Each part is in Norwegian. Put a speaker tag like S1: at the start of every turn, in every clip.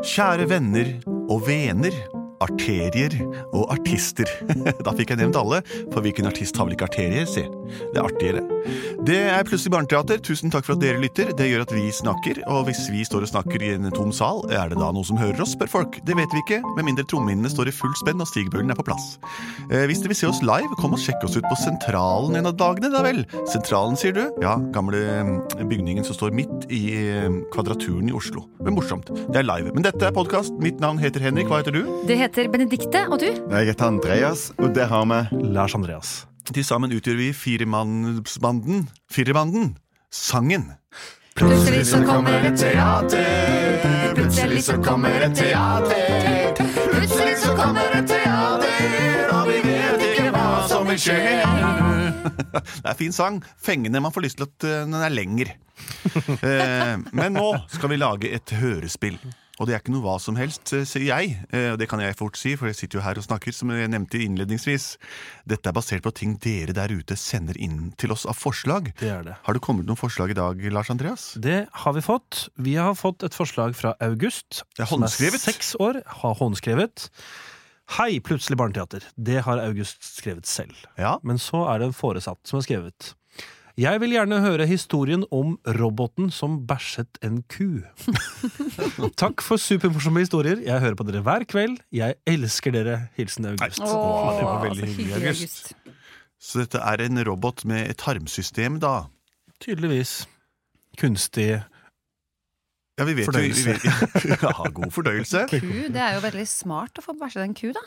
S1: Kjære venner og vener, arterier og artister. da fikk jeg nevnt alle, for hvilken artist har vel ikke arterier? Se, det er artigere. Det er plutselig barneteater. Tusen takk for at dere lytter. Det gjør at vi snakker, og hvis vi står og snakker i en tom sal, er det da noen som hører oss, spør folk. Det vet vi ikke, med mindre trommehinnene står i full spenn og stigbøylen er på plass. Eh, Hvis dere vil se oss live, kom og sjekk oss ut på Sentralen en av dagene, da vel. Sentralen, sier du? Ja, gamle eh, bygningen som står midt i eh, Kvadraturen i Oslo. Men morsomt. Det er live. Men dette er podkast. Mitt navn heter Henrik. Hva heter du?
S2: Det heter Benedikte, og du?
S3: Jeg heter Andreas, og det har vi
S4: Lars Andreas.
S1: Til sammen utgjør vi firemannsbanden Firebanden. Sangen.
S2: Plutselig så kommer et
S3: teater.
S2: Plutselig så kommer et
S3: teater. Plutselig så kommer et teater, og vi vet ikke hva som vil skje.
S1: Det er en fin sang. Fengende. Man får lyst til at eh, den er lenger. Eh, Men nå skal vi lage et hørespill. Og det er ikke noe hva som helst, eh, sier jeg. Eh, Og det kan jeg fort si, for jeg sitter jo her og snakker, som jeg nevnte innledningsvis. Dette er basert på ting dere der ute sender inn til oss av forslag.
S4: Det er det.
S1: Har du kommet noen forslag i dag, Lars Andreas?
S4: Det har vi fått. Vi har fått et forslag fra August.
S1: Det er
S4: som
S1: håndskrevet.
S4: seks år, har håndskrevet. Hei, plutselig barneteater. Det har August skrevet selv.
S1: Ja.
S4: Men så er det en foresatt som har skrevet. Jeg vil gjerne høre historien om roboten som bæsjet en ku. Takk for supermorsomme historier. Jeg hører på dere hver kveld. Jeg elsker dere. Hilsen August.
S2: Åh,
S1: det var veldig
S2: så
S1: hyggelig, August. Så dette er en robot med et tarmsystem, da.
S4: Tydeligvis kunstig
S1: Ja, vi vet jo-
S4: Fordøyelse.
S1: Vi vet, ja, god fordøyelse.
S2: Ku, det er jo veldig smart å få bæsje den ku, da.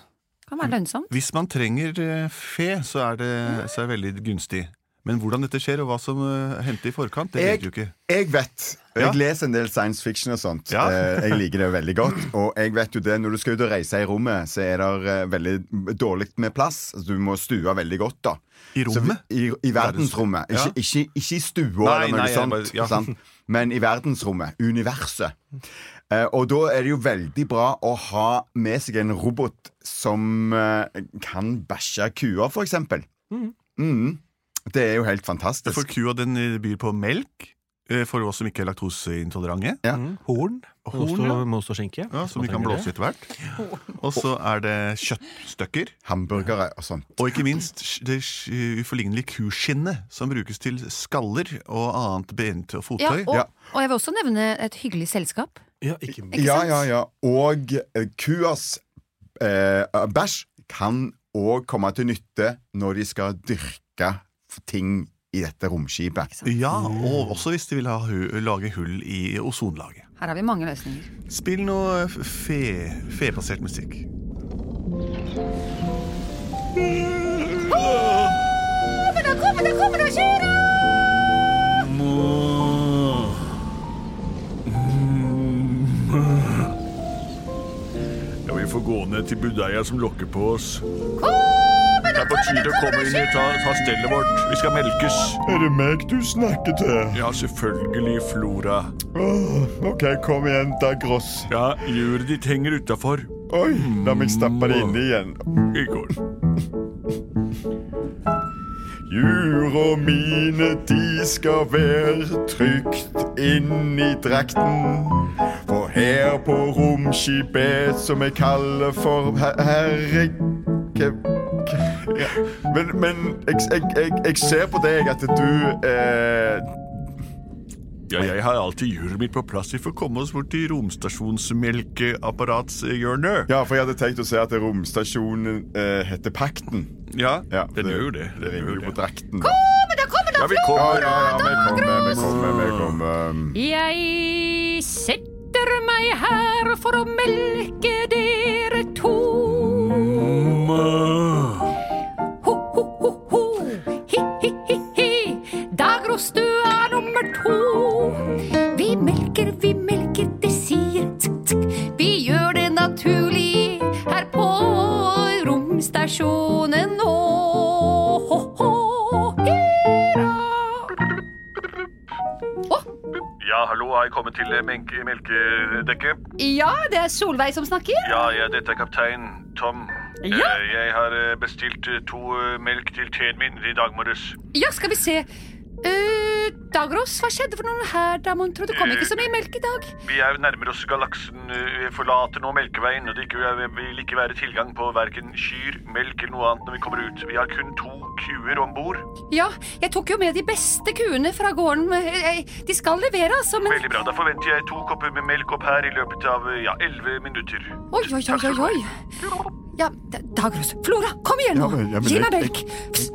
S2: Kan være lønnsom.
S1: Hvis man trenger eh, fe, så er det, så er det veldig gunstig. Men hvordan dette skjer, og hva som eh, hendte i forkant, det
S3: Jeg-
S1: vet du ikke.
S3: Jeg vet.
S1: Ja.
S3: Jeg leser en del science fiction og sånt.
S1: Ja.
S3: Eh, Jeg liker det veldig godt. Og jeg vet jo det, når du skal ut og reise i rommet, så er det eh, veldig dårlig med plass. Altså, Du må stue veldig godt, da.
S1: I
S3: Så vi-
S1: rommet?
S3: I, i verdensrommet.
S1: Ja.
S3: Ikke, ikke, ikke i stua
S1: Nei,
S3: eller noe
S1: nei, jeg
S3: sånt.
S1: bare- ja.
S3: sant? Men i verdensrommet. Universet. Eh, og da er det jo veldig bra å ha med seg en robot som eh, kan bæsje kuer, for eksempel. Mm. Det er jo helt fantastisk.
S1: For kua den eh, byr på melk, eh, for oss som ikke er laktoseintolerante.
S3: Ja.
S4: mm, horn.
S1: Horn,
S4: Most-
S1: ja.
S4: most og skinke.
S1: Ja, som vi
S4: Man
S1: kan
S4: trenger det.
S1: blåse etter hvert. Og så er det kjøttstykker.
S3: Hamburgere og sånt.
S1: Og ikke minst sj- det sj- uforlignelige kuskinnet, som brukes til skaller og annet bent og
S2: Ja,
S1: fottøy.
S2: og,
S3: Ja.
S2: og jeg vil også nevne et hyggelig selskap.
S4: Ja, ikke minst.
S2: Ikke
S3: Ja,
S2: sant?
S3: ja, ja. Og eh, kuas eh, bæsj kan òg komme til nytte når de skal dyrke ting i dette romskipet.
S1: Ja, og også hvis de vil ha hu lage hull i ozonlaget.
S2: Her har vi mange løsninger.
S1: Spill noe f- fe febasert musikk.
S5: Ja, vi får gå ned til budeia som lokker på oss. Det er på tide å komme inn i ta, ta stellet vårt. Vi skal melkes.
S3: Er det meg du snakker til?
S5: Ja, selvfølgelig, Flora.
S3: ok, kom igjen, da, Gross.
S5: Ja, luret ditt henger utafor.
S3: Oi, la meg stappe det inne igjen.
S5: I går.
S3: Jura mine, de skal være trygt inni drakten. For her på romskipet som jeg kaller for her- herre... ke- ke- ja. Men, men jeg, jeg, jeg, jeg ser på deg at du eh,
S5: Ja, jeg har alltid juret mitt på plass. Vi får komme oss bort til romstasjonsmelkeapparatshjørnet.
S3: Ja, for jeg hadde tenkt å si at romstasjonen eh, heter Pakten.
S5: Ja,
S3: Ja,
S5: den gjør jo det.
S3: Det
S5: Den
S3: rimer
S5: gjør
S3: jo på
S5: det.
S3: drakten.
S5: Ja, vi
S3: Ja,
S5: kommer.
S3: ja, ja, vi kommer, vi kommer, vi kommer.
S2: Jeg setter meg her for å melke dere to. Ho, ho, ho, ho. Hi, hi, hi, hi. Dagros, du er nummer to. Vi melker, vi melker, det
S5: velkommen til eh, menke- melkedekket.
S2: Ja, det er Solveig som snakker.
S5: Ja, ja, dette er kaptein Tom.
S2: Ja.
S5: Eh, Jeg har eh, bestilt eh, to eh, melk til teen min i dag morges.
S2: Ja, skal vi se. Eh, Dagros, hva skjedde for noe her, da, mon tro? Det kom ikke så
S5: Eh,
S2: mye melk i dag.
S5: Vi er nærmer oss galaksen, eh, forlater nå Melkeveien, og det ikke er- vil ikke være tilgang på hverken kyr, melk eller noe annet når vi kommer ut. Vi har kun to kuer om bord.
S2: Ja, jeg tok jo med de beste kuene fra gården. Eh, eh, De skal levere, altså, men
S5: Veldig bra, da forventer jeg to kopper med melk opp her i løpet av eh, ja, 11 minutter.
S2: Oi, oi, oi, oi, oi. Ja, D- Dagros. Flora, kom igjen nå!
S3: Ja, men- ja, men
S2: Gi
S3: det-
S2: meg melk! Pss,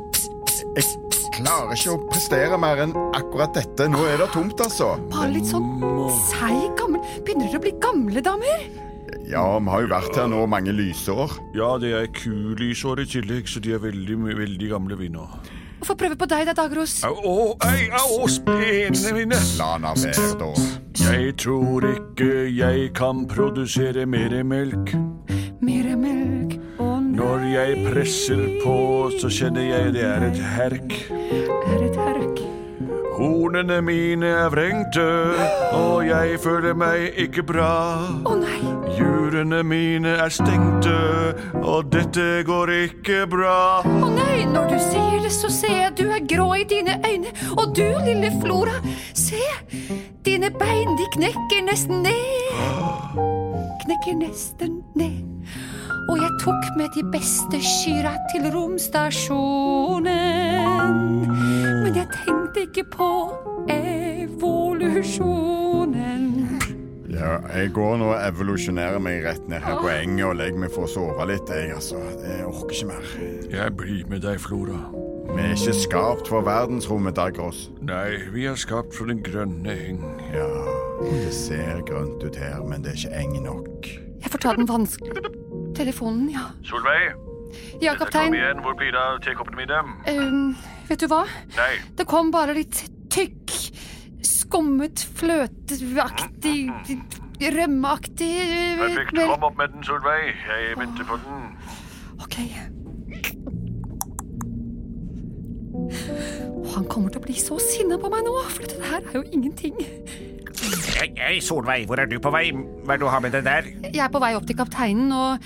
S3: Jeg klarer ikke å prestere mer enn akkurat dette. Nå er det tomt, altså.
S2: Bare litt sånn seig gammel Begynner dere å bli gamle damer?
S3: Ja, vi har jo vært her nå mange lysår.
S5: Ja, det er kulysår i tillegg, så de er veldig, veldig gamle vi nå.
S2: Få prøve på deg da, Dagros.
S5: Au, au, ei, au, spenene mine!
S3: La han være, da.
S5: Jeg tror ikke jeg kan produsere mer melk.
S2: Mer melk. Å nei,
S5: Når jeg presser på, så kjenner jeg det er et herk.
S2: er et herk.
S5: Hornene mine er vrengte, og jeg føler meg ikke bra.
S2: Å nei.
S5: Jurene mine er stengte, og dette går ikke bra.
S2: Å nei, når du ser det, så ser jeg du er grå i dine øyne. Og du, lille Flora, se! Dine bein, de knekker nesten ned. Knekker nesten ned. Og jeg tok med de beste kyra til romstasjonen. Men jeg tenkte ikke på evolusjonen.
S3: Ja, jeg går nå og evolusjonerer meg rett ned her på enget og legger meg for å sove litt. Jeg, altså. jeg orker ikke mer.
S5: Jeg blir med deg, Flora.
S3: Vi er ikke skapt for verdensrommet, Dagros.
S5: Nei, vi er skapt fra den grønne eng.
S3: Ja, det ser grønt ut her, men det er ikke eng nok.
S2: Jeg får ta den vanskelige telefonen, ja.
S5: Solveig,
S2: Ja, kaptein.
S5: igjen. Hvor blir det av tekoppene mine?
S2: Ehm, vet du hva?
S5: Nei,
S2: Det kom bare litt tykk, skummet, fløteaktig, rømmeaktig vel-
S5: opp med den, Solveig. Jeg venter på den.
S2: Ok. Og han kommer til å bli så sinna på meg nå, for dette her er jo ingenting.
S1: Hei, hei, Solveig, hvor er du på vei? Hva er det du har med deg der?
S2: Jeg er på vei opp til kapteinen, og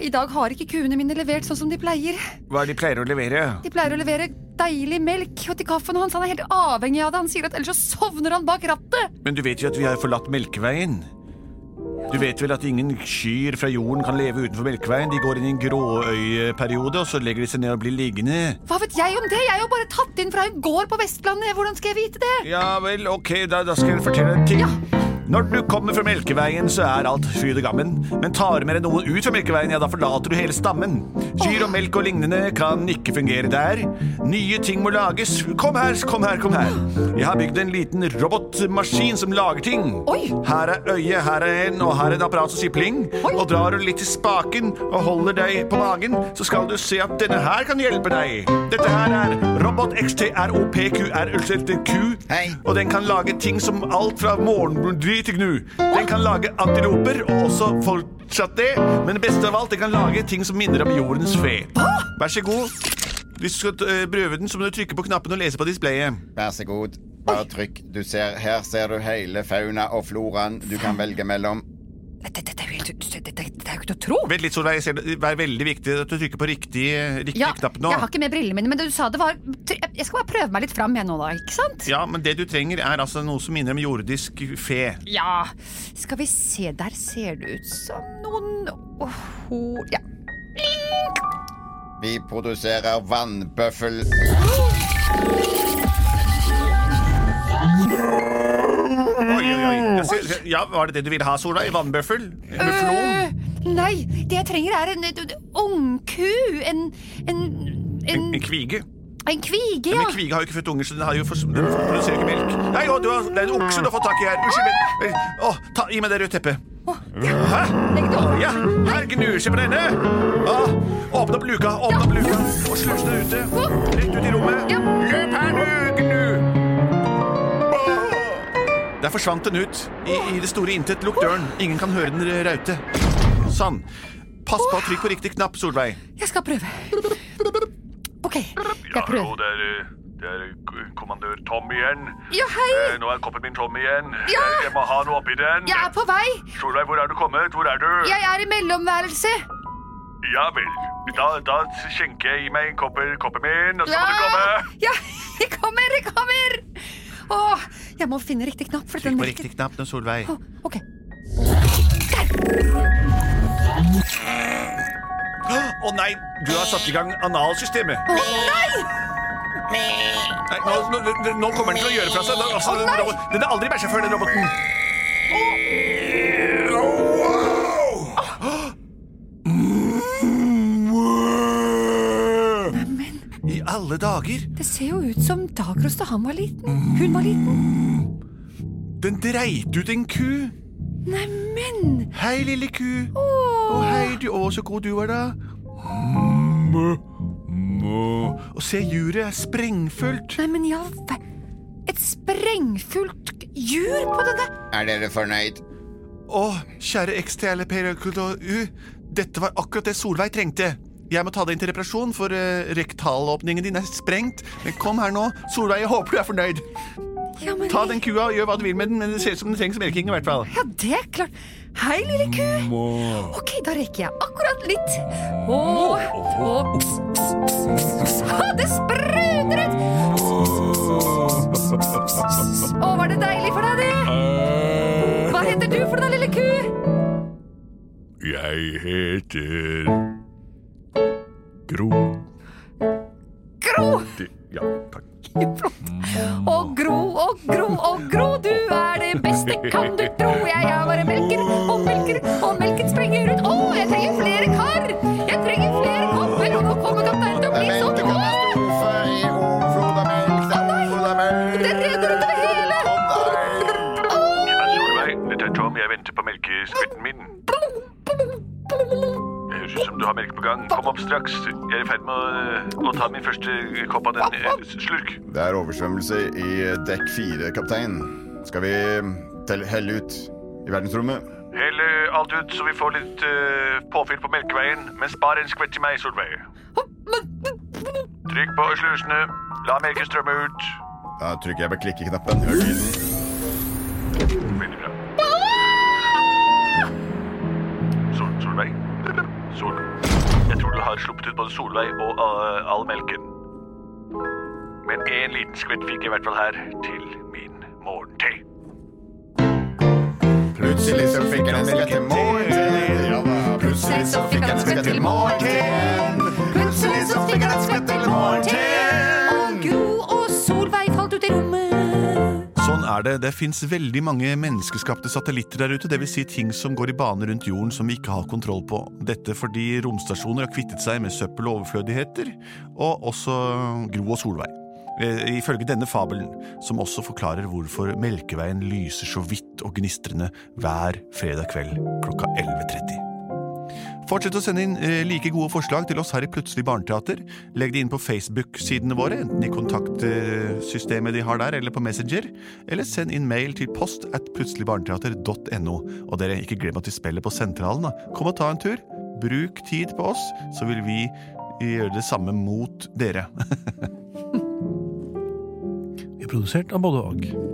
S2: i dag har ikke kuene mine levert sånn som de pleier.
S1: Hva er det de pleier å levere?
S2: De pleier å levere deilig melk, og til kaffen hans. Han er helt avhengig av det. Han sier at ellers så sovner han bak rattet.
S1: Men du vet jo at vi har forlatt Melkeveien. Du vet vel at ingen kyr fra jorden kan leve utenfor Melkeveien? De går inn i en gråøyeperiode, og så legger de seg ned og blir liggende.
S2: Hva vet jeg om det? Jeg er jo bare tatt inn fra en gård på Vestlandet. Hvordan skal jeg vite det?
S1: Ja vel, ok, da, da skal jeg fortelle deg en ting. Når du kommer fra Melkeveien, så er alt fryd og gammen. Men tar du med deg noen ut fra Melkeveien, ja, da forlater du hele stammen. Kyr og melk og lignende kan ikke fungere der. Nye ting må lages. Kom her, kom her, kom her. Jeg har bygd en liten robotmaskin som lager ting.
S2: Oi.
S1: Her er øyet, her er en, og her er et apparat som sier pling. Og drar du litt i spaken og holder deg på magen, så skal du se at denne her kan hjelpe deg. Dette her er Robot XTROPQRULTQ.
S3: Hei.
S1: Og den kan lage ting som alt fra morgendry til gnu. Den kan lage antiloper, og også fortsatt det. Men det beste av alt, den kan lage ting som minner om jordens fe. Vær så god. Hvis du skal eh, prøve den, så må du trykke på knappen og lese på displayet.
S3: Vær så god. Bare trykk. Du ser, her ser du hele fauna og floraen du kan velge mellom.
S2: Dette, dette, er jo helt- dette, dette, dette er jo ikke til å tro.
S1: Vent litt, Solveig. jeg ser Det det er veldig viktig at du trykker på riktig, riktig
S2: Ja,
S1: knapp nå.
S2: jeg har ikke med brillene mine, men det du sa det var Jeg skal bare prøve meg litt fram jeg nå, da. Ikke sant?
S1: Ja, men det du trenger, er altså noe som minner om jordisk fe.
S2: Ja. Skal vi se, der ser det ut som noen Åh, ho- Ja.
S3: Vi produserer vannbøffel.
S1: Oi, oi, oi. Jeg ser- ser- Ja, Var det det du ville ha, Solveig? Vannbøffel? Mufflon?
S2: Øh, Nei, det jeg trenger er en en- en ungku. En En,
S1: En,
S2: en,
S1: en kvige?
S2: en kvige, ja.
S1: Men kvige har jo ikke født unger, så den, har jo for, den produserer ikke melk. Nei, å, du har, det er en okse du har fått tak i her. Unnskyld. vent, vent. Å, ta, gi meg det røde teppet. Hæ?
S2: Legg det over.
S1: Ja, her gnur seg på denne. Å, åpne opp luka, åpne opp luka. Og sløs den ute. Rett ut i rommet.
S2: Ja.
S1: Løp her, du, gnu. Der forsvant den ut. I, I det store intet. Lukk døren. Ingen kan høre den raute. Sann. Pass på å trykke på riktig knapp, Solveig.
S2: Jeg skal prøve. OK, jeg prøver.
S5: det er Det er k- kommandør Tom igjen.
S2: Ja, hei!
S5: Eh, nå er koppen min tom igjen. Eh,
S2: Ja!
S5: Jeg, jeg må ha noe oppi den.
S2: Jeg er på vei!
S5: Solveig, hvor er du kommet? Hvor er du?
S2: Jeg er i mellomværelse.
S5: Ja vel. Da, da skjenker jeg i meg koppen, koppen min, og så
S2: Ja,
S5: må du komme.
S2: Ah, ja, jeg kommer, jeg kommer! Åh, jeg må finne riktig knapp. For den
S1: Trykk på riktig knapp nå, Solveig.
S2: Åh, ok.
S1: Å nei, du har satt i gang analsystemet.
S2: Åh, nei!
S1: Nei, nå, nå, nå kommer den til å gjøre fra seg. Den, altså, den, robot, den har aldri bæsja før, den roboten. I alle dager!
S2: Det ser jo ut som Dagros da han var liten. Hun var liten.
S1: Den dreit ut en ku.
S2: Neimen!
S1: Hei, lille ku. Å, hei, du. Å, så god du var, da. Og se, juret er sprengfullt.
S2: Neimen, ja vel. Et sprengfullt jur på denne
S6: Er dere fornøyd?
S1: Å, kjære XTLPRKU, dette var akkurat det Solveig trengte. Jeg må ta det inn til reparasjon, for eh, rektalåpningen din er sprengt. Men kom her nå. Solveig, jeg håper du er fornøyd.
S2: Ja, men
S1: Ta den kua og gjør hva du vil med den, men det ser ut som den trengs melking i hvert fall.
S2: Ja, det er klart. Hei, lille ku. Ok, da rekker jeg akkurat litt. Og, og pss, pss, pss, pss, pss. Ha, det sprudret! Å, var det deilig for deg, det? Hva heter du for noe, lille ku?
S3: Jeg heter Gro.
S2: Gro!
S3: Det- Ja, takk.
S2: Flott. Å, Gro, å, Gro, å, Gro, du er det beste, kan du tro. Jeg er bare melker og melker, og melken sprenger ut. Å, jeg trenger flere kar! Jeg trenger flere kopper, og nå kommer kapteinen til å bli
S6: Vent, det
S2: sånn.
S6: kommer
S2: Å!
S6: strofe i overflod av melk. Det er overflod av melk.
S2: Det renner utover hele!
S5: Vær så god, Solveig. Dette er Tom. Jeg venter på melkeskvetten min. Det høres ut som du har melk på gang. Kom opp straks. Jeg er i ferd med å, å ta min første kopp av den eh, slurk.
S6: Det er oversvømmelse i dekk fire, kaptein. Skal vi mm, telle- helle ut i verdensrommet?
S5: Hell eh, alt ut, så vi får litt eh, påfyll på melkeveien. Men spar en skvett til meg, Solveig. Trykk på slusene. La melken strømme ut.
S6: Da trykker jeg på klikkeknappen. Hør lyden.
S5: Veldig bra. Sol, Solveig? Sol. Jeg tror du har sluppet ut både Solveig og eh, all melken. Men en liten skvett fikk jeg i hvert fall her til min morgente.
S6: Plutselig så fikk jeg en skvett til morgenen. Ja da. Plutselig så fikk jeg en skvett til morgenen. Plutselig så fikk jeg en skvett til
S2: Og
S6: morgenen.
S2: Gro og Solveig falt ut i rommet.
S1: Sånn er det. Det fins veldig mange menneskeskapte satellitter der ute, dvs. Si ting som går i bane rundt jorden som vi ikke har kontroll på. Dette fordi romstasjoner har kvittet seg med søppel og overflødigheter, og også Gro og Solveig. Eh, Ifølge denne fabelen, som også forklarer hvorfor Melkeveien lyser så vidt og gnistrende hver fredag kveld klokka 11.30. Fortsett å sende inn eh, like gode forslag til oss her i Plutselig barneteater. Legg det inn på Facebook-sidene våre, enten i kontaktsystemet de har der, eller på Messenger. Eller send inn mail til post at plutseligbarneteater.no. Og dere, ikke glem at vi spiller på Sentralen, da. Kom og ta en tur. Bruk tid på oss, så vil vi eh, gjøre det samme mot dere.
S4: Vi er produsert av både og.